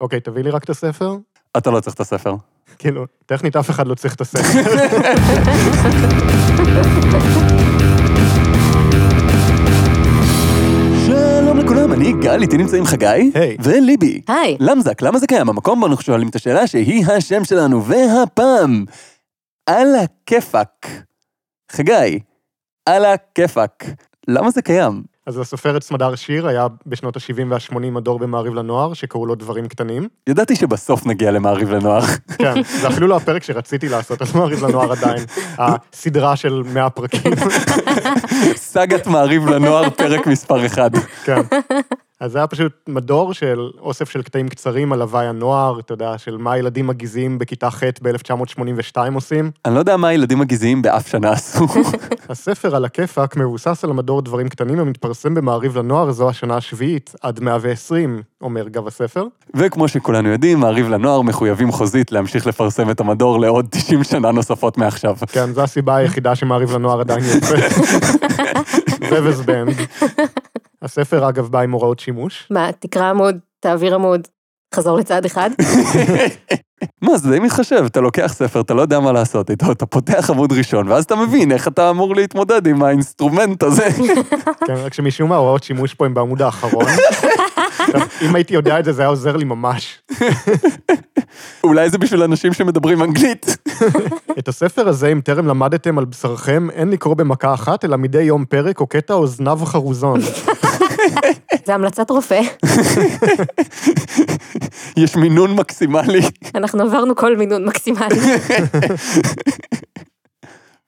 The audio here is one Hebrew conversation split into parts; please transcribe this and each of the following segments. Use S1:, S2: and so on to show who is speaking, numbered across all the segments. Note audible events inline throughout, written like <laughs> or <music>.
S1: אוקיי, תביא לי רק את הספר. <laughs>
S2: אתה לא צריך את הספר.
S1: כאילו, טכנית אף אחד לא צריך את הספר.
S2: שלום לכולם, אני גל, איתי נמצאים חגי.
S1: היי.
S2: וליבי.
S3: היי.
S2: למזק, למה זה קיים? המקום בו אנחנו שואלים את השאלה שהיא השם שלנו, והפעם, על הכיפאק. חגי, על הכיפאק. למה זה קיים?
S1: אז הסופרת סמדר שיר היה בשנות ה-70 וה-80 מדור במעריב לנוער, שקראו לו דברים קטנים.
S2: ידעתי שבסוף נגיע למעריב לנוער. <laughs>
S1: כן, זה אפילו לא הפרק שרציתי לעשות על מעריב לנוער עדיין. הסדרה של 100 פרקים,
S2: סאגת מעריב לנוער, פרק מספר 1.
S1: כן. אז זה היה פשוט מדור של אוסף של קטעים קצרים על הוואי הנוער, אתה יודע, של מה הילדים מגזעים בכיתה ח' ב-1982 עושים.
S2: אני לא יודע מה הילדים הגזעיים באף שנה עשו. <laughs>
S1: הספר על הכיפאק מבוסס על המדור דברים קטנים ומתפרסם במעריב לנוער, זו השנה השביעית עד 120, אומר גב הספר.
S2: וכמו שכולנו יודעים, מעריב לנוער מחויבים חוזית להמשיך לפרסם את המדור לעוד 90 שנה נוספות מעכשיו.
S1: כן, זו הסיבה היחידה שמעריב לנוער עדיין יוצא. זבז בנד. הספר, אגב, בא עם הוראות שימוש.
S3: מה, תקרא עמוד, תעביר עמוד, חזור לצעד אחד?
S2: מה, זה די מתחשב, אתה לוקח ספר, אתה לא יודע מה לעשות איתו, אתה פותח עמוד ראשון, ואז אתה מבין איך אתה אמור להתמודד עם האינסטרומנט הזה.
S1: כן, רק שמשום מה הוראות שימוש פה הן בעמוד האחרון. אם הייתי יודע את זה, זה היה עוזר לי ממש.
S2: אולי זה בשביל אנשים שמדברים אנגלית. <laughs>
S1: את הספר הזה, אם טרם למדתם על בשרכם, אין לקרוא במכה אחת, אלא מדי יום פרק או קטע או זנב חרוזון.
S3: זה המלצת רופא.
S2: יש מינון מקסימלי.
S3: אנחנו עברנו כל מינון מקסימלי.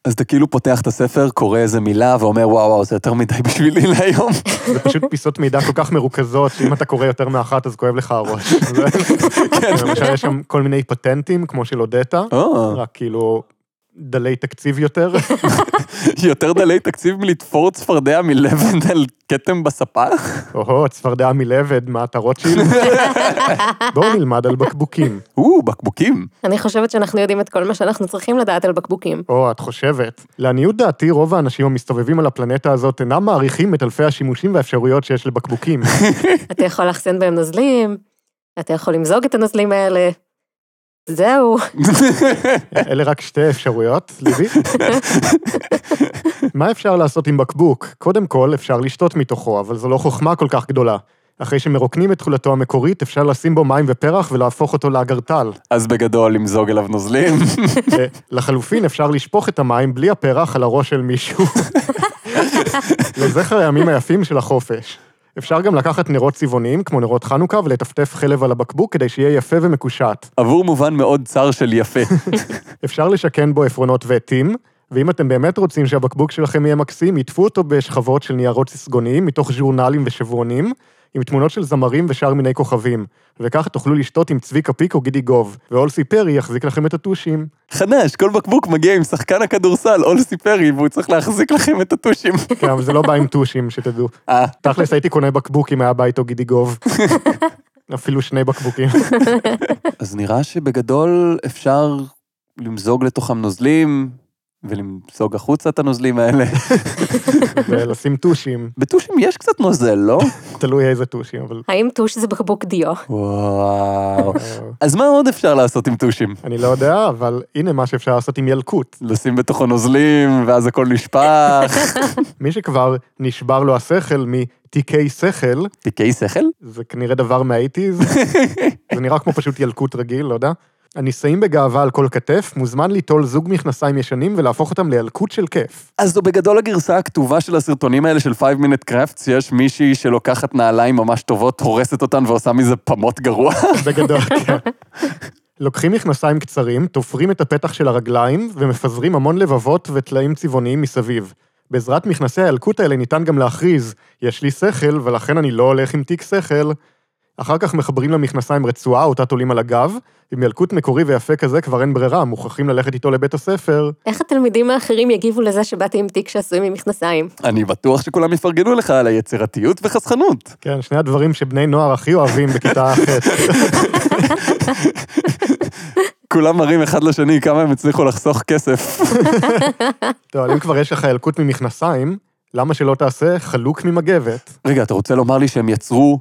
S2: אז אתה כאילו פותח את הספר, קורא איזה מילה ואומר, וואו, וואו, זה יותר מדי בשבילי להיום.
S1: זה פשוט פיסות מידע כל כך מרוכזות, שאם אתה קורא יותר מאחת, אז כואב לך הראש. זה- למשל, יש שם כל מיני פטנטים, כמו של אודטה,
S2: או,
S1: רק כאילו דלי תקציב יותר.
S2: יותר דלי תקציב מלתפור צפרדע מלבן על כתם בספה?
S1: או-הו, צפרדע מלבד, מה אתה רוטשילד? בואו נלמד על בקבוקים.
S2: <laughs> או, בקבוקים.
S3: אני חושבת שאנחנו יודעים את כל מה שאנחנו צריכים לדעת על בקבוקים.
S1: או, את חושבת. לעניות דעתי, רוב האנשים המסתובבים על הפלנטה הזאת אינם מעריכים את אלפי השימושים והאפשרויות שיש לבקבוקים.
S3: אתה יכול לאחסן בהם נוזלים, אתה יכול למזוג את הנוזלים האלה. זהו,
S1: אלה רק שתי אפשרויות, ליבי. מה אפשר לעשות עם בקבוק? קודם כל, אפשר לשתות מתוכו, אבל זו לא חוכמה כל כך גדולה. אחרי שמרוקנים את תכולתו המקורית, אפשר לשים בו מים ופרח ולהפוך אותו לאגרטל.
S2: אז בגדול, למזוג אליו נוזלים. <laughs>
S1: אה, לחלופין, אפשר לשפוך את המים בלי הפרח על הראש של מישהו. לזכר הימים היפים של החופש. אפשר גם לקחת נרות צבעוניים, כמו נרות חנוכה, ולטפטף חלב על הבקבוק כדי שיהיה יפה ומקושט.
S2: עבור מובן מאוד צר של יפה.
S1: אפשר לשכן בו עפרונות ועטים, ואם אתם באמת רוצים שהבקבוק שלכם יהיה מקסים, יטפו אותו בשכבות של ניירות ססגוניים מתוך ז'ורנלים ושבועונים, עם תמונות של זמרים ושאר מיני כוכבים. וכך תוכלו לשתות עם צביקה פיק או גידי גוב, ואולסי פרי יחזיק לכם את הטושים.
S2: חדש, כל בקבוק מגיע עם שחקן הכדורסל, אולסי פרי, והוא צריך להחזיק לכם את הטושים.
S1: כן, אבל זה לא בא עם טושים, שתדעו.
S2: <laughs> אה,
S1: תכלס הייתי קונה בקבוק אם היה בא איתו גידי גוב. אפילו שני בקבוקים.
S2: אז נראה שבגדול אפשר למזוג לתוכם נוזלים, ולמזוג החוצה את הנוזלים האלה. <laughs>
S1: ולשים טושים,
S2: בטושים יש קצת נוזל, <laughs> לא?
S1: תלוי איזה טושים, אבל...
S3: האם טוש זה בקבוק דיו?
S2: <laughs> וואו.
S1: אה,
S2: אז מה עוד אפשר לעשות עם טושים?
S1: אני לא יודע, אבל הנה מה שאפשר לעשות עם ילקוט.
S2: לשים בתוכו נוזלים, ואז הכל נשפך. <laughs>
S1: מי שכבר נשבר לו השכל מתיקי שכל,
S2: תיקי שכל?
S1: זה כנראה דבר מהאיטיז, זה נראה כמו פשוט ילקוט רגיל, לא יודע. הנישאים בגאווה על כל כתף, מוזמן ליטול זוג מכנסיים ישנים ולהפוך אותם לילקוט של כיף.
S2: אז זו בגדול הגרסה הכתובה של הסרטונים האלה של 5 minute crafts, יש מישהי שלוקחת נעליים ממש טובות, הורסת אותן ועושה מזה פמות גרוע.
S1: בגדול, כן. לוקחים מכנסיים קצרים, תופרים את הפתח של הרגליים ומפזרים המון לבבות וטלאים צבעוניים מסביב. בעזרת מכנסי הילקוט האלה ניתן גם להכריז, יש לי שכל ולכן אני לא הולך עם תיק שכל. אחר כך מחברים למכנסיים רצועה אותה תולים על הגב, עם ילקוט מקורי ויפה כזה כבר אין ברירה, מוכרחים ללכת איתו לבית הספר.
S3: איך התלמידים האחרים יגיבו לזה שבאתי עם תיק שעשוי ממכנסיים?
S2: אני בטוח שכולם יפרגנו לך על היצירתיות וחסכנות.
S1: כן, שני הדברים שבני נוער הכי אוהבים בכיתה ח'.
S2: כולם מראים אחד לשני כמה הם הצליחו לחסוך כסף.
S1: טוב, אבל אם כבר יש לך ילקוט ממכנסיים, למה שלא תעשה חלוק ממגבת?
S2: רגע, אתה רוצה לומר לי שהם יצרו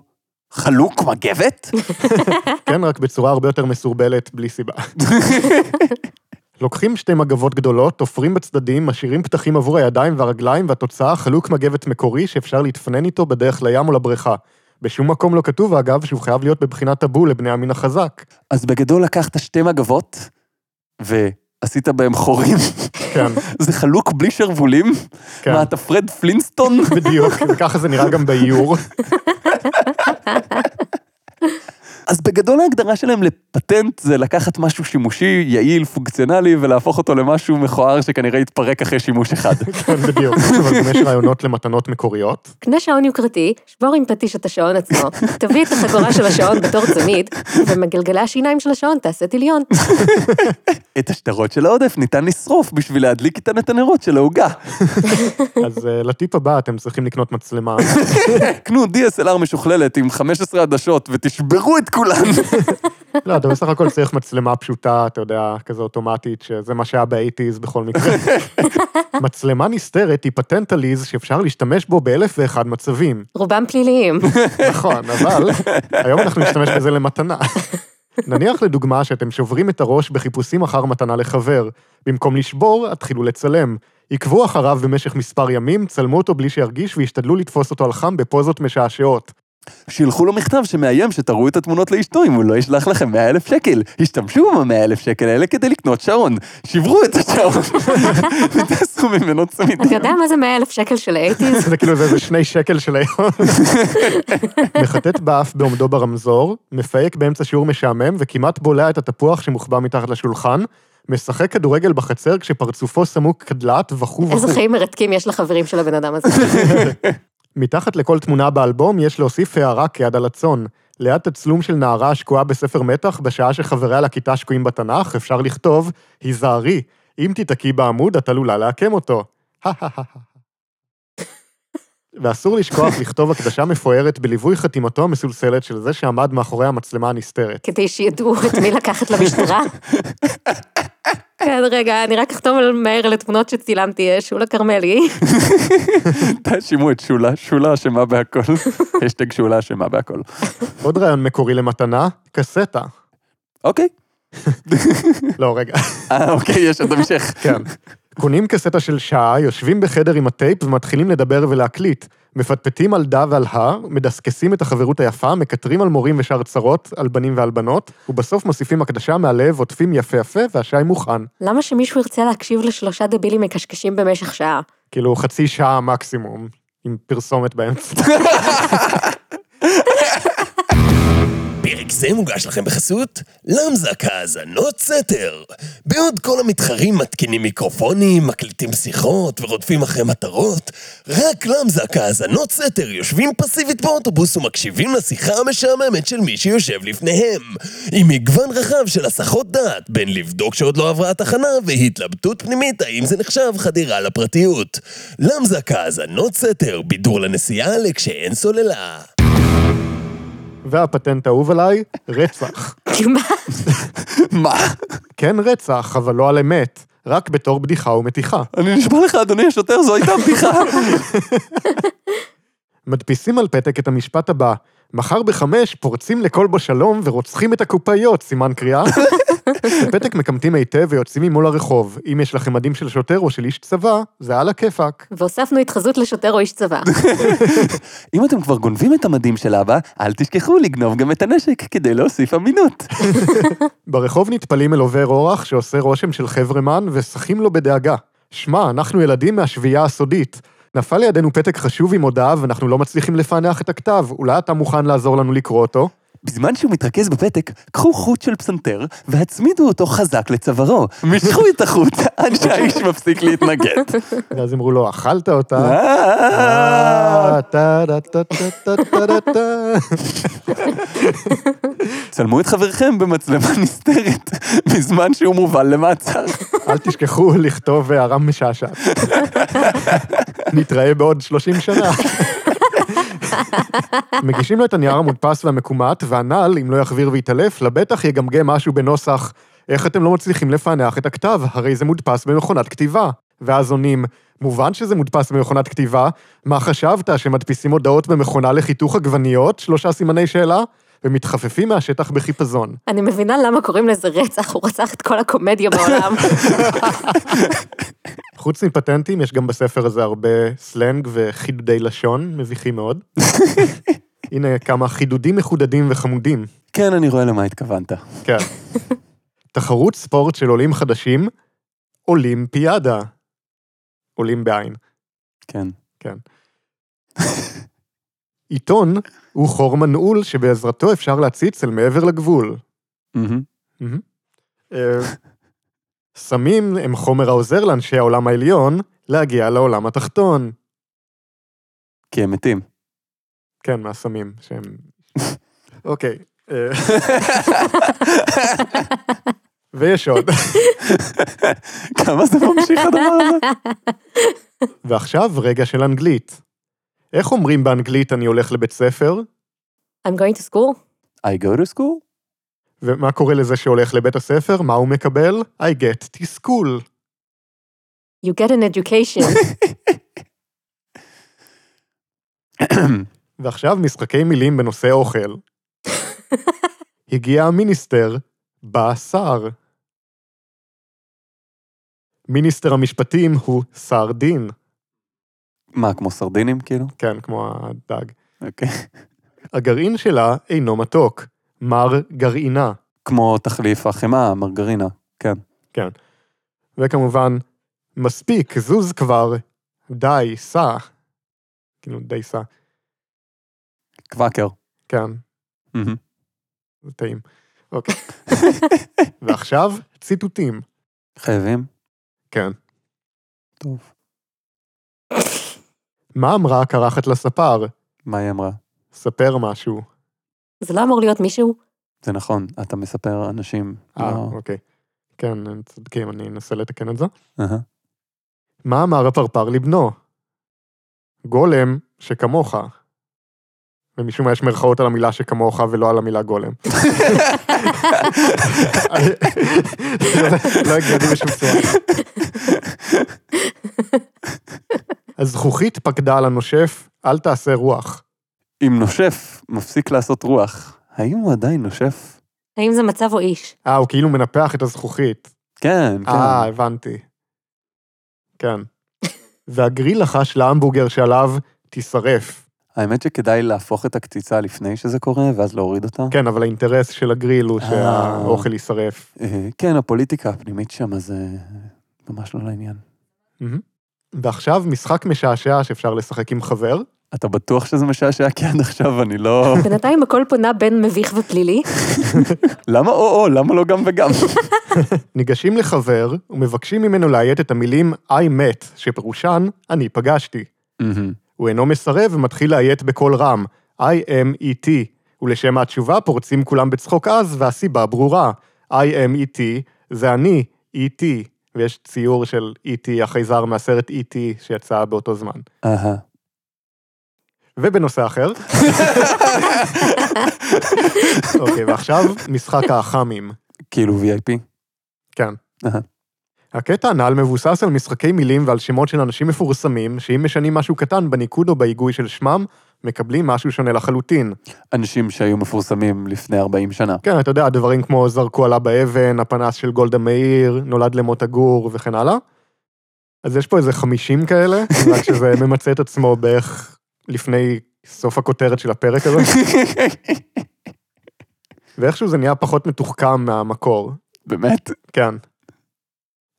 S2: חלוק מגבת?
S1: כן, רק בצורה הרבה יותר מסורבלת, בלי סיבה. לוקחים שתי מגבות גדולות, תופרים בצדדים, משאירים פתחים עבור הידיים והרגליים, והתוצאה חלוק מגבת מקורי שאפשר להתפנן איתו בדרך לים או לבריכה. בשום מקום לא כתוב, אגב, שהוא חייב להיות בבחינת טאבו לבני המין החזק.
S2: אז בגדול לקחת שתי מגבות, ועשית בהם חורים.
S1: כן,
S2: זה חלוק בלי שרוולים?
S1: כן.
S2: מה, אתה פרד פלינסטון?
S1: בדיוק, וככה זה נראה גם באיור.
S2: אז בגדול ההגדרה שלהם לפטנט זה לקחת משהו שימושי, יעיל, פונקציונלי, ולהפוך אותו למשהו מכוער שכנראה יתפרק אחרי שימוש אחד.
S1: כן, בדיוק. אבל גם יש רעיונות למתנות
S3: <laughs>
S1: מקוריות.
S3: קנה שעון יוקרתי, שבור עם פטיש את השעון עצמו, תביא את החגורה של השעון בתור צמיד, ומגלגלי השיניים של השעון תעשה טיליון.
S2: את השטרות של העודף ניתן לשרוף בשביל להדליק איתן את הנרות של העוגה.
S1: אז אה, לטיפ הבא, אתם צריכים לקנות מצלמה.
S2: קנו DSLR משוכללת עם 15 עדשות ותשברו את כולן.
S1: לא, אתה בסך הכל צריך מצלמה פשוטה, אתה יודע, כזה אוטומטית, שזה מה שהיה באייטיז בכל מקרה. מצלמה נסתרת היא פטנט עליז שאפשר להשתמש בו באלף ואחד מצבים.
S3: רובם פליליים.
S1: נכון, אבל היום אנחנו נשתמש בזה למתנה. נניח לדוגמה שאתם שוברים את הראש בחיפושים אחר מתנה לחבר. במקום לשבור, התחילו לצלם. עקבו אחריו במשך מספר ימים, צלמו אותו בלי שירגיש והשתדלו לתפוס אותו על חם בפוזות משעשעות.
S2: שילחו לו מכתב שמאיים שתראו את התמונות לאשתו אם הוא לא ישלח לכם 100 אלף שקל. השתמשו ב 100 אלף שקל האלה כדי לקנות שעון. שברו את השעון ותעשו ממנו צמיד.
S3: אתה יודע מה זה 100 אלף שקל של
S1: <laughs>
S3: האייטיז?
S1: זה כאילו זה איזה שני שקל של היום. מחטט באף בעומדו ברמזור, מפהק באמצע שיעור משעמם וכמעט בולע את התפוח שמוחבא מתחת לשולחן, משחק כדורגל בחצר כשפרצופו סמוק כדלת וכו וכו.
S3: איזה חיים מרתקים יש לחברים של הבן אדם הזה. <laughs>
S1: <laughs> מתחת לכל תמונה באלבום יש להוסיף הערה כיד על הצאן. ליד תצלום של נערה השקועה בספר מתח, בשעה שחבריה לכיתה שקועים בתנ"ך, אפשר לכתוב, היזהרי, אם תיתקעי בעמוד, את עלולה לעקם אותו. <laughs> ואסור לשכוח לכתוב הקדשה מפוארת בליווי חתימתו המסולסלת של זה שעמד מאחורי המצלמה הנסתרת.
S3: כדי שידעו את מי לקחת למשטרה. כן, רגע, אני רק אחתום על מהר על התמונות שצילמתי, אה, שולה כרמלי.
S2: תאשימו את שולה, שולה אשמה בהכל. השטג שולה אשמה בהכל.
S1: עוד רעיון מקורי למתנה, קסטה.
S2: אוקיי.
S1: לא, רגע,
S2: אה, אוקיי, יש עוד המשך.
S1: כן. קונים קסטה של שעה, יושבים בחדר עם הטייפ ומתחילים לדבר ולהקליט. מפטפטים על דה ועל הא, מדסקסים את החברות היפה, מקטרים על מורים ושאר צרות, על בנים ועל בנות, ובסוף מוסיפים הקדשה מהלב, עוטפים יפהפה, והשי מוכן.
S3: <laughs> למה שמישהו ירצה להקשיב לשלושה דבילים מקשקשים במשך שעה? <laughs>
S1: כאילו, חצי שעה מקסימום, עם פרסומת באמצע. <laughs>
S4: פרק זה מוגש לכם בחסות למזק האזנות סתר. בעוד כל המתחרים מתקינים מיקרופונים, מקליטים שיחות ורודפים אחרי מטרות, רק למזק האזנות סתר יושבים פסיבית באוטובוס ומקשיבים לשיחה המשעממת של מי שיושב לפניהם. עם מגוון רחב של הסחות דעת, בין לבדוק שעוד לא עברה התחנה והתלבטות פנימית האם זה נחשב חדירה לפרטיות. למזק האזנות סתר, בידור לנסיעה לכשאין סוללה.
S1: והפטנט האהוב עליי, רצח.
S3: מה?
S2: <laughs> מה?
S1: כן רצח, אבל לא על אמת, רק בתור בדיחה ומתיחה.
S2: אני נשבע לך, אדוני השוטר, זו הייתה בדיחה.
S1: מדפיסים על פתק את המשפט הבא: מחר בחמש פורצים לכל בו שלום ורוצחים את הקופאיות, סימן קריאה. את הפתק מקמטים היטב ויוצאים ממול הרחוב. אם יש לכם מדים של שוטר או של איש צבא, זה על הכיפאק.
S3: והוספנו התחזות לשוטר או איש צבא.
S2: אם אתם כבר גונבים את המדים של אבא, אל תשכחו לגנוב גם את הנשק כדי להוסיף אמינות.
S1: ברחוב נטפלים אל עובר אורח שעושה רושם של חברמן ושחים לו בדאגה. שמע, אנחנו ילדים מהשביעייה הסודית. נפל לידינו פתק חשוב עם הודעה ואנחנו לא מצליחים לפענח את הכתב, אולי אתה מוכן לעזור לנו לקרוא אותו?
S2: בזמן שהוא מתרכז בפתק, קחו חוט של פסנתר והצמידו אותו חזק לצווארו. משכו את החוט <laughs> עד שהאיש מפסיק להתנגד.
S1: ואז אמרו לו, אכלת אותה.
S2: אה,
S1: אה, טה, טה, טה, טה, טה, טה, טה, טה.
S2: צלמו את חברכם במצלמה <laughs> נסתרת בזמן שהוא מובל למעצר. <laughs>
S1: אל תשכחו לכתוב הערה משעשעת. נתראה בעוד 30 שנה. מגישים לו את הנייר המודפס והמקומט, והנ"ל, אם לא יחביר ויתעלף, לבטח יגמגם משהו בנוסח, איך אתם לא מצליחים לפענח את הכתב, הרי זה מודפס במכונת כתיבה. ואז עונים, מובן שזה מודפס במכונת כתיבה. מה חשבת, שמדפיסים הודעות במכונה לחיתוך עגבניות? שלושה סימני שאלה? ומתחפפים מהשטח בחיפזון.
S3: אני מבינה למה קוראים לזה רצח, הוא רצח את כל הקומדיה בעולם.
S1: חוץ מפטנטים, יש גם בספר הזה הרבה סלנג וחידודי לשון, מביכים מאוד. הנה כמה חידודים מחודדים וחמודים.
S2: כן, אני רואה למה התכוונת.
S1: כן. תחרות ספורט של עולים חדשים, אולימפיאדה. עולים בעין,
S2: כן.
S1: כן. עיתון הוא חור מנעול שבעזרתו אפשר להציץ אל מעבר לגבול.
S2: מהמם.
S1: מהמם. אה, סמים הם חומר העוזר לאנשי העולם העליון להגיע לעולם התחתון.
S2: כי הם מתים. <laughs>
S1: כן, מהסמים, שהם... אוקיי. אה, <laughs> ויש עוד. <laughs>
S2: כמה זה ממשיך הדבר הזה?
S1: ועכשיו רגע של אנגלית. איך אומרים באנגלית אני הולך לבית ספר,
S3: I'm going to school?
S2: <laughs> I go to school?
S1: ומה קורה לזה שהולך לבית הספר, מה הוא מקבל? I get תסכול.
S3: You get an education.
S1: ועכשיו משחקי מילים בנושא אוכל. הגיע המיניסטר, בא שר. מיניסטר המשפטים הוא שר דין,
S2: <clears throat> מה, כמו סרדינים, כאילו?
S1: כן, כמו הדג.
S2: אוקיי.
S1: הגרעין שלה אינו מתוק, מר גרעינה.
S2: כמו תחליף החמאה, מרגרינה.
S1: וכמובן, מספיק, זוז כבר, די, סע. כאילו, די סע,
S2: קוואקר.
S1: כן,
S2: מהמם.
S1: זה טעים. אוקיי. ועכשיו, ציטוטים.
S2: חייבים?
S1: כן.
S2: טוב.
S1: מה אמרה הקרחת לספר?
S2: מה היא אמרה?
S1: ספר משהו.
S3: זה לא אמור להיות מישהו?
S2: זה נכון, אתה מספר אנשים.
S1: אה,
S2: לא-
S1: אוקיי. כן, הם צודקים, אני אנסה לתקן את זה.
S2: אהה.
S1: מה אמר הפרפר לבנו? גולם שכמוך. ומשום מה יש מירכאות על המילה שכמוך ולא על המילה גולם. לא הגיוני בשום צורה. הזכוכית פקדה על הנושף, אל תעשה רוח.
S2: אם נושף, מפסיק לעשות רוח. האם הוא עדיין נושף?
S3: האם זה מצב או איש?
S1: אה, הוא כאילו מנפח את הזכוכית.
S2: כן,
S1: אה,
S2: כן.
S1: הבנתי. כן. והגריל לחש להמבורגר שעליו, תישרף.
S2: האמת שכדאי להפוך את הקציצה לפני שזה קורה, ואז להוריד אותה.
S1: כן, אבל האינטרס של הגריל הוא
S2: אה.
S1: שהאוכל יישרף.
S2: אה, כן, הפוליטיקה הפנימית שם זה ממש לא לעניין.
S1: מהמם. ועכשיו משחק משעשע שאפשר לשחק עם חבר.
S2: אתה בטוח שזה משעשע? כי עד עכשיו אני
S1: <laughs>
S2: לא...
S3: בינתיים הכל פונה בין מביך ופלילי.
S2: למה או-או? למה לא גם
S1: <laughs>
S2: וגם?
S1: ניגשים לחבר ומבקשים ממנו לאיית את המילים I met, שפירושן אני פגשתי.
S2: מהמם.
S1: הוא אינו מסרב ומתחיל לאיית בקול רם, I am ET, ולשם התשובה פורצים כולם בצחוק עז, והסיבה ברורה, I am ET זה אני, ET, ויש ציור של ET, החייזר מהסרט ET שיצא באותו זמן.
S2: אהה.
S1: ובנושא אחר... אוקיי, ועכשיו משחק האח"מים.
S2: כאילו VIP.
S1: כן.
S2: אהה.
S1: הקטע הנ"ל מבוסס על משחקי מילים ועל שמות של אנשים מפורסמים, שאם משנים משהו קטן בניקוד או בהיגוי של שמם, מקבלים משהו שונה לחלוטין.
S2: אנשים שהיו מפורסמים לפני
S1: <laughs>
S2: 40 שנה.
S1: כן, אתה יודע, דברים כמו זרקו עליו באבן, הפנס של גולדה מאיר, נולד למוטה גור וכן הלאה. אז יש פה איזה 50 כאלה, רק שזה ממצה את עצמו בערך לפני סוף הכותרת של הפרק הזה, ואיכשהו זה נהיה פחות מתוחכם מהמקור.
S2: באמת?
S1: כן.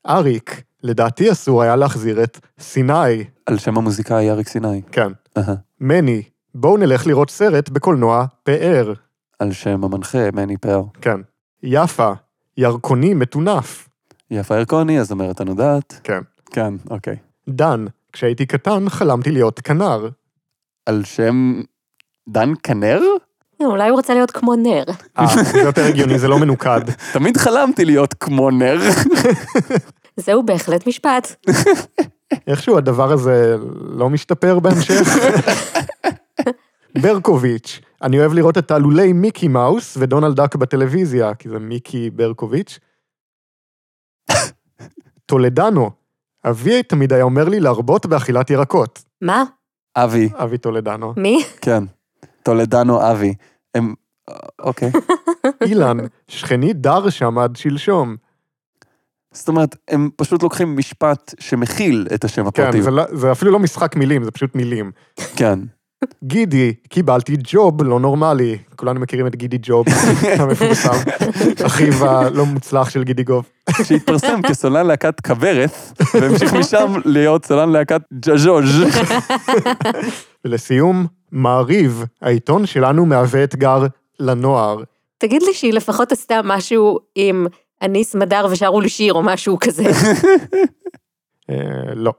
S1: אריק, לדעתי אסור היה להחזיר את סיני,
S2: על שם המוזיקאי אריק סיני.
S1: כן.
S2: אהה.
S1: מני, בואו נלך לראות סרט בקולנוע פאר,
S2: על שם המנחה מני פאר.
S1: כן. יפה, ירקוני מטונף,
S2: יפה ירקוני, הזמרת הנודעת.
S1: כן.
S2: כן, אוקיי.
S1: דן, כשהייתי קטן חלמתי להיות כנר.
S2: על שם דן כנר?
S3: אולי הוא רוצה להיות כמו נר.
S1: אה, זה יותר הגיוני, זה לא מנוקד.
S2: תמיד חלמתי להיות כמו נר.
S3: זהו בהחלט משפט.
S1: איכשהו הדבר הזה לא משתפר בהמשך. ברקוביץ', אני אוהב לראות את תעלולי מיקי מאוס ודונלד דאק בטלוויזיה, כי זה מיקי ברקוביץ'. טולדנו, אבי תמיד היה אומר לי להרבות באכילת ירקות.
S3: מה?
S2: אבי,
S1: אבי טולדנו.
S3: מי? <laughs>
S2: כן. טולדנו אבי. הם... אוקיי.
S1: אילן, שכני דר שעמד שלשום.
S2: זאת אומרת, הם פשוט לוקחים משפט שמכיל את השם הפרטי.
S1: כן, זה, לא- זה אפילו לא משחק מילים, זה פשוט מילים.
S2: כן.
S1: גידי, קיבלתי ג'וב לא נורמלי. כולנו מכירים את גידי ג'וב, המפורסם, אחיו הלא מוצלח של גידי גוב. <laughs>
S2: שהתפרסם כסולן להקת כוורת, והמשיך משם להיות סולן להקת ג'אז'וז'.
S1: ולסיום, מעריב, העיתון שלנו מהווה אתגר לנוער.
S3: תגיד לי שהיא לפחות עשתה משהו עם אניס מדר ושרו לי שיר או משהו
S1: <laughs>
S3: כזה.
S1: אה, לא.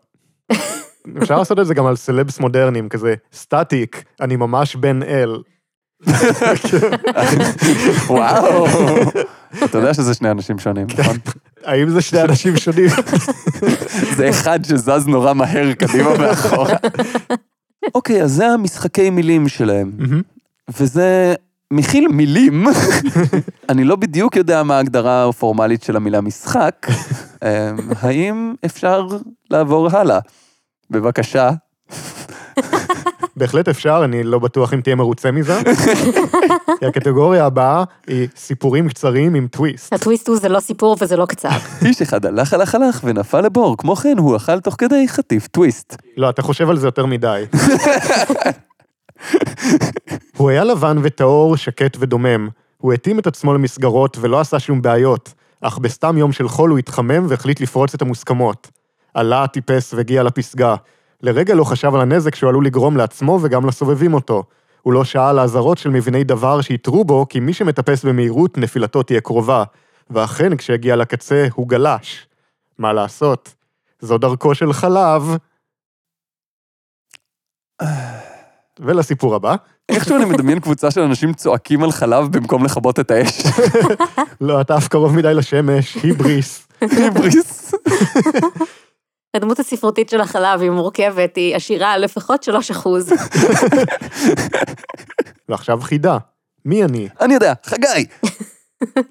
S1: אפשר לעשות את זה גם על סלבס מודרניים, כזה סטטיק, אני ממש בן אל.
S2: וואו. אתה יודע שזה שני אנשים שונים, נכון?
S1: האם זה שני אנשים שונים?
S2: זה אחד שזז נורא מהר קדימה ואחורה. אוקיי, אז זה המשחקי מילים שלהם.
S1: מהמם.
S2: וזה מכיל מילים. אני לא בדיוק יודע מה ההגדרה הפורמלית של המילה משחק. אמ, האם אפשר לעבור הלאה? בבקשה.
S1: בהחלט אפשר, אני לא בטוח אם תהיה מרוצה מזה. כי הקטגוריה הבאה היא סיפורים קצרים עם טוויסט.
S3: הטוויסט הוא זה לא סיפור וזה לא קצר.
S2: איש אחד הלך הלך הלך ונפל לבור, כמו כן הוא אכל תוך כדי חטיף טוויסט.
S1: לא, אתה חושב על זה יותר מדי. הוא היה לבן וטהור, שקט ודומם. הוא התאים את עצמו למסגרות ולא עשה שום בעיות, אך בסתם יום של חול הוא התחמם והחליט לפרוץ את המוסכמות. עלה, טיפס והגיע לפסגה. לרגע לא חשב על הנזק שהוא עלול לגרום לעצמו וגם לסובבים אותו. הוא לא שעה על האזהרות של מביני דבר שהתרו בו, כי מי שמטפס במהירות, נפילתו תהיה קרובה. ואכן, כשהגיע לקצה, הוא גלש. מה לעשות? זו דרכו של חלב. ולסיפור הבא.
S2: איכשהו אני מדמיין קבוצה של אנשים צועקים על חלב במקום לכבות את האש. <laughs>
S1: לא, אתה אף קרוב מדי לשמש, היבריס.
S2: היבריס.
S3: הדמות הספרותית של החלב היא מורכבת, היא עשירה לפחות
S1: <laughs>
S3: 3 אחוז.
S1: ועכשיו חידה. מי אני?
S2: אני יודע, חגי.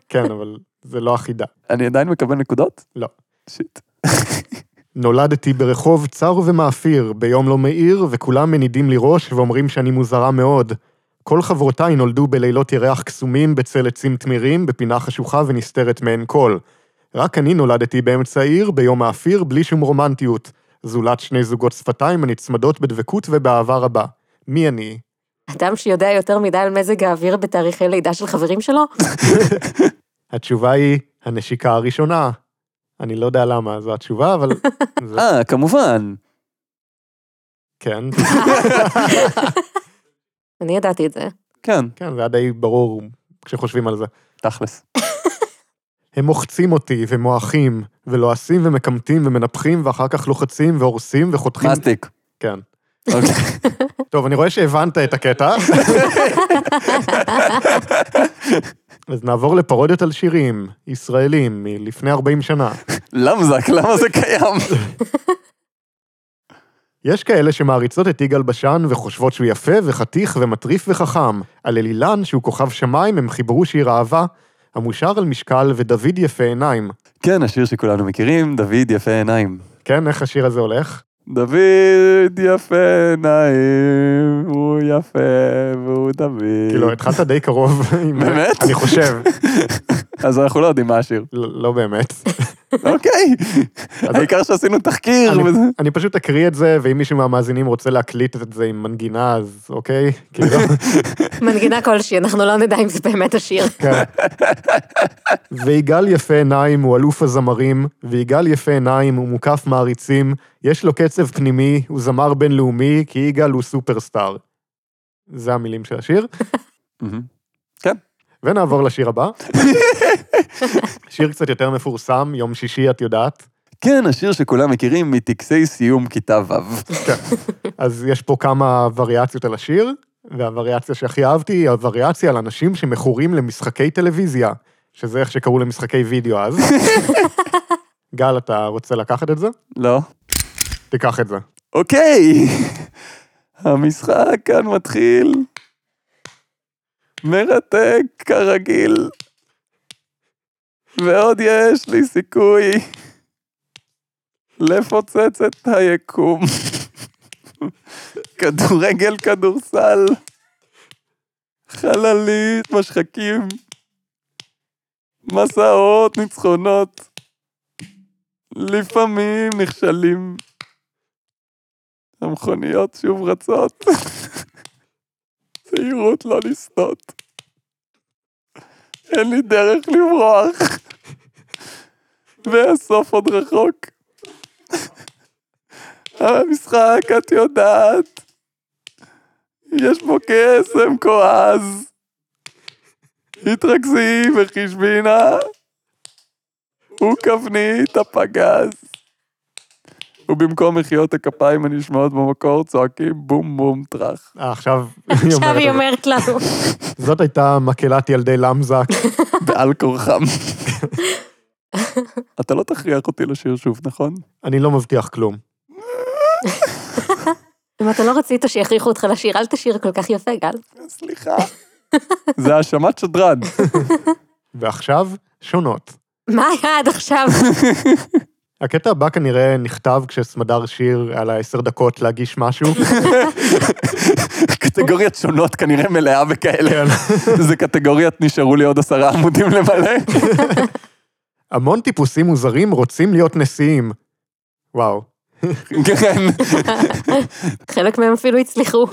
S1: כן, אבל זה לא החידה.
S2: אני עדיין מקבל נקודות?
S1: לא.
S2: שיט.
S1: נולדתי ברחוב צר ומאפיר, ביום לא מאיר, וכולם מנידים לי ראש ואומרים שאני מוזרה מאוד. כל חברותיי נולדו בלילות ירח קסומים, בצל עצים תמירים, בפינה חשוכה ונסתרת מעין כל. רק אני נולדתי באמצע העיר, ביום מאפיר, בלי שום רומנטיות. זולת שני זוגות שפתיים הנצמדות בדבקות ובאהבה רבה. מי אני?
S3: אדם שיודע יותר מדי על מזג האוויר בתאריכי לידה של חברים שלו?
S1: התשובה היא הנשיקה הראשונה. אני לא יודע למה זו התשובה, אבל... זה...
S2: אה, כמובן.
S1: כן,
S3: אני
S1: <laughs>
S3: ידעתי את זה.
S2: כן,
S1: כן, זה היה די ברור כשחושבים על זה.
S2: תכלס.
S1: הם מוחצים אותי ומועכים, ולועסים ומקמטים ומנפחים, ואחר כך לוחצים והורסים וחותכים...
S2: מסטיק.
S1: כן.
S2: אוקיי. <laughs>
S1: טוב, אני רואה שהבנת את הקטע. אז נעבור לפרודיות על שירים ישראלים מלפני 40 שנה.
S2: למזק, למה זה
S1: <laughs>
S2: קיים?
S1: יש כאלה שמעריצות את יגאל בשן וחושבות שהוא יפה וחתיך ומטריף וחכם. על אלילן, שהוא כוכב שמיים, הם חיברו שיר אהבה, המושר על משקל ודוד יפה עיניים.
S2: כן, השיר שכולנו מכירים, דוד יפה עיניים.
S1: כן, איך השיר הזה הולך?
S2: דוד יפה עיניים, הוא יפה והוא דוד.
S1: כאילו, התחלת די קרוב. עם-
S2: באמת?
S1: אני חושב,
S2: אז אנחנו לא יודעים
S1: <laughs>
S2: מה השיר.
S1: לא לא באמת.
S2: אוקיי.
S1: אז-
S2: העיקר שעשינו תחקיר.
S1: אני- <laughs>
S2: וזה-
S1: אני פשוט אקריא את זה, ואם מישהו מהמאזינים רוצה להקליט את זה עם מנגינה, אז אוקיי, כאילו,
S3: מנגינה כלשהי, אנחנו לא נדע אם זה
S1: <laughs>
S3: באמת השיר.
S1: כן. ויגאל יפה עיניים הוא אלוף הזמרים, ויגאל יפה עיניים הוא מוקף מעריצים, יש לו קצב פנימי, הוא זמר בינלאומי, כי יגאל הוא סופרסטאר. זה המילים של השיר,
S2: מהמם.
S1: ונעבור לשיר הבא. שיר קצת יותר מפורסם, יום שישי, את יודעת.
S2: כן, השיר שכולם מכירים מטקסי סיום כיתה ו'.
S1: אז יש פה כמה וריאציות על השיר, והווריאציה שהכי אהבתי היא הווריאציה על אנשים שמכורים למשחקי טלוויזיה, שזה איך שקראו למשחקי וידאו אז. גל, אתה רוצה לקחת את זה?
S2: לא.
S1: תיקח את זה.
S2: אוקיי, המשחק כאן מתחיל. מרתק, כרגיל. ועוד יש לי סיכוי. לפוצץ את היקום. כדורגל, כדורסל, חללית, משחקים, מסעות, ניצחונות. לפעמים נכשלים. המכוניות שוב רצות. זהירות לא לסטות. אין לי דרך לברוח. והסוף עוד רחוק. המשחק, את יודעת, יש בו קסם כועז. התרכזי וחשבינה, הוא קבנית הפגז. ובמקום מחיאות הכפיים הנשמעות במקור צועקים בום בום
S1: <laughs>
S2: טראח.
S1: אה, עכשיו...
S3: <laughs> עכשיו
S1: את
S3: היא
S1: זה.
S3: אומרת לנו.
S1: <laughs> זאת הייתה מקהלת ילדי למזק. <laughs>
S2: בעל כורחם. אתה לא תכריח אותי לשיר שוב, נכון?
S1: אני לא מבטיח כלום.
S3: אם אתה לא רצית שיכריחו אותך לשיר, אל תשיר כל כך יפה, גל.
S2: סליחה. <laughs> זה האשמת שדרן.
S1: ועכשיו, שונות.
S3: מה היה עד
S1: <laughs>
S3: עכשיו?
S1: הקטע הבא כנראה נכתב כשסמדר שיר היה לה עשר דקות להגיש משהו.
S3: <laughs>
S1: <laughs>
S2: קטגוריות שונות כנראה מלאה בכאלה.
S1: <laughs> כן.
S2: זה קטגוריית נשארו לי עוד עשרה עמודים למלא.
S1: המון טיפוסים מוזרים רוצים להיות נשיאים. וואו.
S2: כן.
S3: חלק מהם אפילו הצליחו.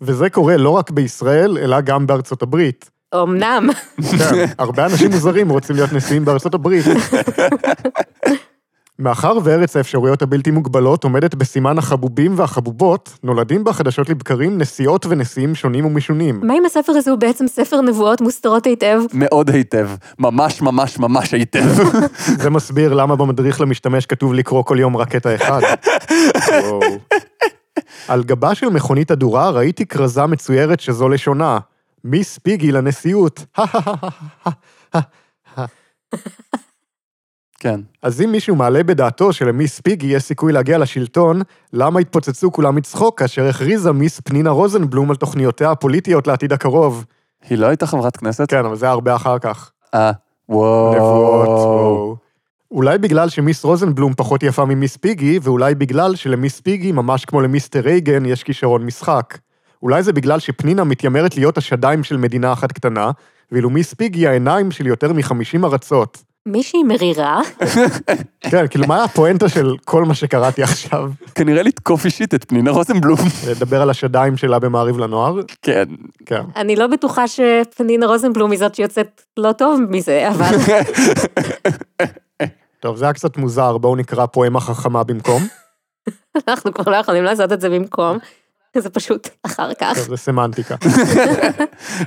S1: וזה קורה לא רק בישראל, אלא גם בארצות הברית.
S3: אמנם.
S1: כן, הרבה אנשים מוזרים רוצים להיות נשיאים בארצות הברית. מאחר וארץ האפשרויות הבלתי מוגבלות עומדת בסימן החבובים והחבובות, נולדים בה חדשות לבקרים נשיאות ונשיאים שונים ומשונים.
S3: מה אם הספר הזה הוא בעצם ספר נבואות מוסתרות היטב?
S2: מאוד היטב. ממש ממש ממש היטב.
S1: זה מסביר למה במדריך למשתמש כתוב לקרוא כל יום רק קטע אחד. וואו. על גבה של מכונית הדורה ראיתי כרזה מצוירת שזו לשונה. מיס פיגי לנשיאות. <laughs>
S2: כן.
S1: אז אם מישהו מעלה בדעתו שלמיס פיגי יש סיכוי להגיע לשלטון, למה התפוצצו כולם מצחוק כאשר הכריזה מיס פנינה רוזנבלום על תוכניותיה הפוליטיות לעתיד הקרוב?
S2: היא לא הייתה חברת כנסת?
S1: כן, אבל זה היה הרבה אחר כך.
S2: אה,
S1: נבואות,
S2: וואו.
S1: וואו. אולי בגלל שמיס רוזנבלום פחות יפה ממיס פיגי, ואולי בגלל שלמיס פיגי, ממש כמו למיסטר רייגן, יש כישרון משחק. אולי זה בגלל שפנינה מתיימרת להיות השדיים של מדינה אחת קטנה, ואילו מיס פיגי העיניים של יותר מחמישים ארצות.
S3: מישהי מרירה?
S1: כן, כאילו, מה הפואנטה של כל מה שקראתי עכשיו?
S2: כנראה לתקוף אישית את פנינה רוזנבלום. <laughs>
S1: לדבר על השדיים שלה במעריב לנוער,
S2: כן.
S1: כן.
S3: אני לא בטוחה שפנינה רוזנבלום היא זאת שיוצאת לא טוב מזה, אבל... <laughs>
S1: טוב, זה היה קצת מוזר, בואו נקרא פואמה חכמה במקום.
S3: אנחנו כבר לא יכולים לעשות את זה במקום, זה פשוט אחר כך.
S1: טוב, זה סמנטיקה.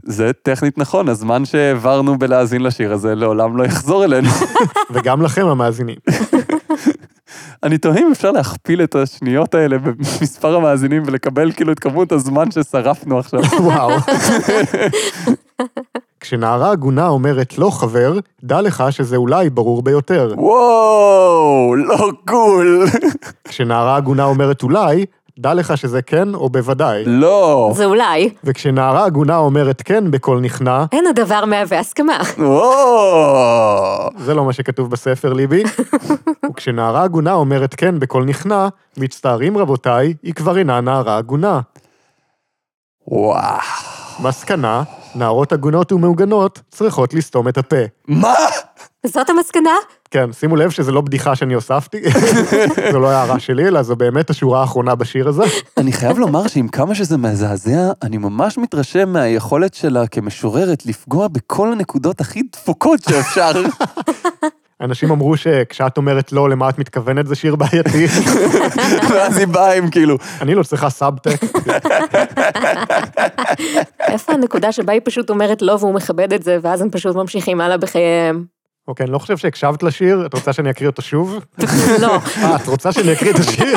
S2: זה טכנית נכון, הזמן שהעברנו בלהאזין לשיר הזה לעולם לא יחזור אלינו. <laughs>
S1: וגם לכם, המאזינים.
S2: אני תוהה אם אפשר להכפיל את השניות האלה במספר המאזינים ולקבל כאילו את כמות הזמן ששרפנו <laughs> עכשיו.
S1: וואו. כשנערה הגונה אומרת לא, חבר, דע לך שזה אולי ברור ביותר.
S2: וואו, לא קול. <laughs>
S1: כשנערה הגונה אומרת אולי, דע לך שזה כן או בוודאי.
S2: לא.
S3: זה אולי.
S1: וכשנערה הגונה אומרת כן בקול נכנע,
S3: אין הדבר מהווה הסכמה.
S2: וואו.
S1: זה לא מה שכתוב בספר, ליבי. וכשנערה הגונה אומרת כן בקול נכנע, מצטערים רבותיי, היא כבר אינה נערה הגונה.
S2: וואו.
S1: מסקנה, נערות עגונות ומעוגנות צריכות לסתום את הפה.
S2: מה?
S3: זאת המסקנה?
S1: כן, שימו לב שזו לא בדיחה שאני הוספתי, <laughs> זו לא הערה שלי, אלא זו באמת השורה האחרונה בשיר הזה.
S2: אני חייב לומר שעם כמה שזה מזעזע, אני ממש מתרשם מהיכולת שלה כמשוררת לפגוע בכל הנקודות הכי דפוקות שאפשר.
S1: אנשים אמרו שכשאת אומרת לא, למה את מתכוונת, זה שיר בעייתי.
S2: <laughs>
S1: <laughs>
S2: ואז היא באה עם כאילו,
S1: אני לא צריכה סאבטקסט.
S3: איפה הנקודה שבה היא פשוט אומרת לא והוא מכבד את זה, ואז הם פשוט ממשיכים הלאה בחייהם?
S1: אוקיי, אני לא חושב שהקשבת לשיר, את רוצה שאני אקריא אותו שוב? <laughs>
S3: לא.
S1: אה, את רוצה שאני אקריא את <laughs> השיר?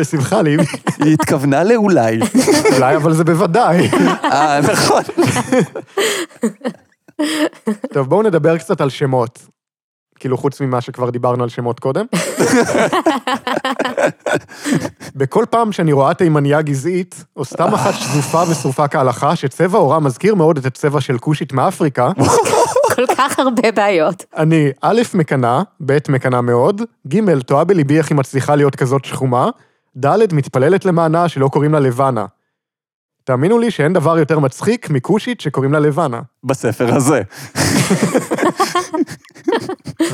S1: בשמחה, לי.
S2: היא התכוונה לאולי.
S1: אולי, אבל זה בוודאי.
S2: אה, נכון.
S1: טוב, בואו נדבר קצת על שמות. כאילו, חוץ ממה שכבר דיברנו על שמות קודם. בכל פעם שאני רואה תימניה גזעית, או סתם אחת שזופה ושרופה כהלכה, שצבע עורה מזכיר מאוד את הצבע של כושית מאפריקה,
S3: כל כך הרבה בעיות.
S1: אני א', מקנא, ב', מקנא מאוד, ג', תוהה בליבי איך היא מצליחה להיות כזאת שחומה, ד', מתפללת למענה שלא קוראים לה לבנה. תאמינו לי שאין דבר יותר מצחיק מכושית שקוראים לה לבנה.
S2: בספר הזה.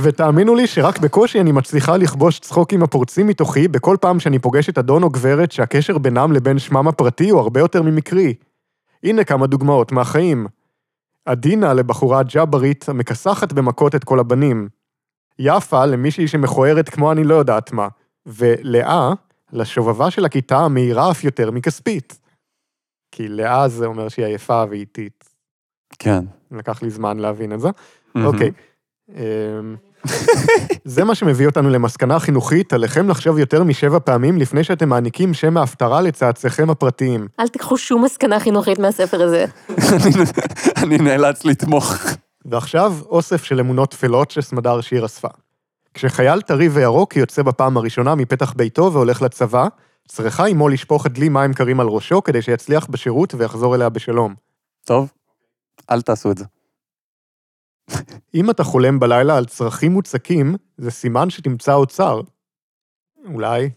S1: ותאמינו לי שרק בקושי אני מצליחה לכבוש צחוקים הפורצים מתוכי בכל פעם שאני פוגש את אדון או גברת שהקשר בינם לבין שמם הפרטי הוא הרבה יותר ממקרי. הנה כמה דוגמאות מהחיים. עדינה לבחורה ג'אברית המכסחת במכות את כל הבנים. יפה למישהי שמכוערת כמו אני לא יודעת מה. ולאה, לשובבה של הכיתה המהירה אף יותר מכספית. כי לאה זה אומר שהיא עייפה ואיטית.
S2: כן.
S1: לקח לי זמן להבין את זה. אוקיי. אמ, <laughs> זה מה שמביא אותנו למסקנה חינוכית, עליכם לחשוב יותר משבע פעמים לפני שאתם מעניקים שם ההפטרה לצאצאיכם הפרטיים.
S3: אל תיקחו שום מסקנה חינוכית מהספר הזה.
S2: אני- <laughs> אני נאלץ לתמוך.
S1: ועכשיו, אוסף של אמונות טפלות שסמדר שיר אספה. כשחייל טרי וירוק יוצא בפעם הראשונה מפתח ביתו והולך לצבא, צריכה אמו לשפוך דלי מים קרים על ראשו כדי שיצליח בשירות ויחזור אליה בשלום.
S2: טוב? אל תעשו את זה.
S1: אם אתה חולם בלילה על צרכים מוצקים, זה סימן שתמצא אוצר. אולי.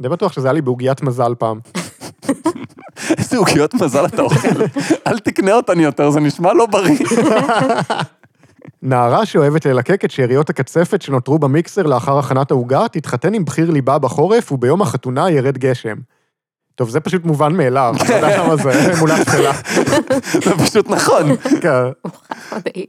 S1: די בטוח שזה היה לי בעוגיית מזל פעם.
S2: איזה עוגיות מזל אתה אוכל. אל תקנה אותן יותר, זה נשמע לא בריא. <laughs>
S1: נערה שאוהבת ללקק את שאריות הקצפת שנותרו במיקסר לאחר הכנת העוגה, תתחתן עם בחיר ליבה בחורף, וביום החתונה ירד גשם. טוב, זה פשוט מובן מאליו, אתה יודע למה זה, אמונה תפלה.
S2: זה פשוט נכון.
S1: כן.
S3: מדהים.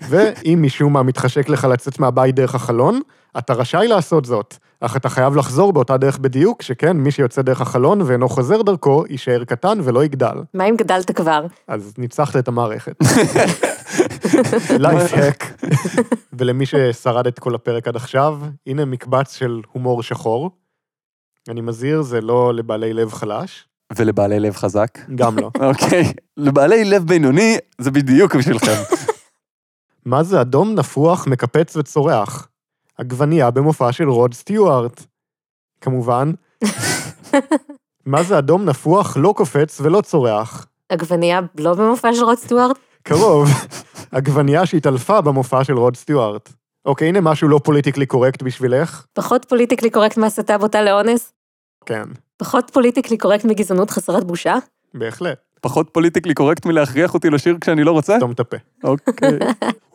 S1: ואם משום מה מתחשק לך לצאת מהבית דרך החלון, אתה רשאי לעשות זאת, אך אתה חייב לחזור באותה דרך בדיוק, שכן מי שיוצא דרך החלון ואינו חוזר דרכו, יישאר קטן ולא יגדל.
S3: מה אם גדלת כבר?
S1: אז ניצחת את המערכת. לייף הק. ולמי ששרד את כל הפרק עד עכשיו, הנה מקבץ של הומור שחור. אני מזהיר, זה לא לבעלי לב חלש,
S2: ולבעלי לב חזק?
S1: גם לא.
S2: אוקיי. לבעלי לב בינוני, זה בדיוק בשבילכם.
S1: מה זה אדום נפוח, מקפץ וצורח? עגבנייה במופע של רוד סטיוארט. כמובן. מה זה אדום נפוח, לא קופץ ולא צורח?
S3: עגבנייה לא במופע של רוד סטיוארט?
S1: קרוב. עגבנייה שהתעלפה במופע של רוד סטיוארט. אוקיי, הנה משהו לא פוליטיקלי קורקט בשבילך.
S3: פחות פוליטיקלי קורקט מהסתה בוטה לאונס?
S1: כן,
S3: פחות פוליטיקלי קורקט מגזענות חסרת בושה?
S1: בהחלט.
S2: פחות פוליטיקלי קורקט מלהכריח אותי לשיר כשאני לא רוצה?
S1: סתום את הפה.
S2: אוקיי.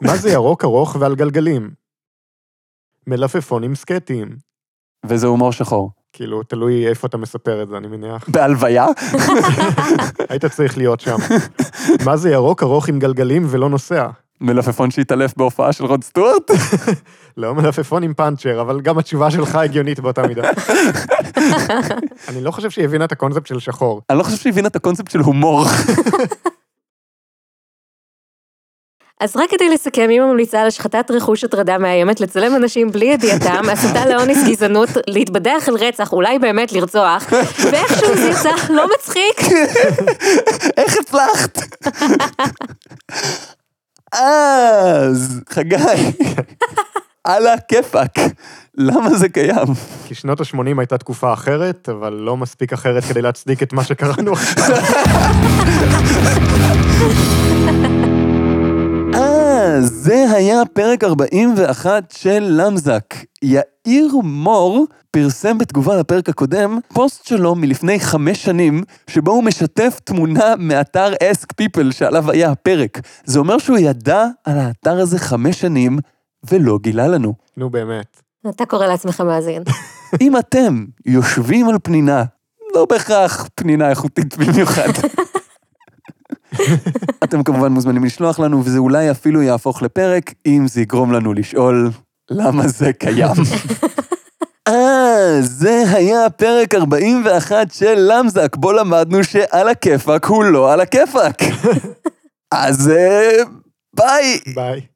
S1: מה זה ירוק ארוך ועל גלגלים? מלפפונים סקטיים.
S2: וזה הומור שחור.
S1: כאילו, תלוי איפה אתה מספר את זה, אני מניח.
S2: בהלוויה?
S1: היית צריך להיות שם. מה זה ירוק ארוך עם גלגלים ולא נוסע?
S2: מלפפון שהתעלף בהופעה של רוד סטוארט?
S1: לא מלפפון עם פאנצ'ר, אבל גם התשובה שלך הגיונית באותה מידה. אני לא חושב שהיא הבינה את הקונספט של שחור.
S2: אני לא חושב שהיא הבינה את הקונספט של הומור.
S3: אז רק כדי לסכם, היא ממליצה על השחתת רכוש הטרדה מאיימת, לצלם אנשים בלי ידיעתם, הסתה לאונס גזענות, להתבדח על רצח, אולי באמת לרצוח, ואיכשהו זה יצא לא מצחיק.
S2: איך הצלחת? אז, חגי, על הכיפאק, למה זה קיים?
S1: כי שנות ה-80 הייתה תקופה אחרת, אבל לא מספיק אחרת כדי להצדיק את מה שקראנו עכשיו.
S2: אה, זה היה פרק 41 של למזק. יאיר מור פרסם בתגובה לפרק הקודם פוסט שלו מלפני חמש שנים, שבו הוא משתף תמונה מאתר אסק פיפל שעליו היה הפרק. זה אומר שהוא ידע על האתר הזה חמש שנים ולא גילה לנו.
S1: נו באמת.
S3: אתה קורא לעצמך מאזין.
S2: אם אתם יושבים על פנינה, לא בהכרח פנינה איכותית במיוחד. אתם כמובן מוזמנים לשלוח לנו, וזה אולי אפילו יהפוך לפרק, אם זה יגרום לנו לשאול למה זה קיים. אה, זה היה פרק 41 של למזק, בו למדנו שעל הכיפאק הוא לא על הכיפאק. אז אה, ביי.
S1: ביי.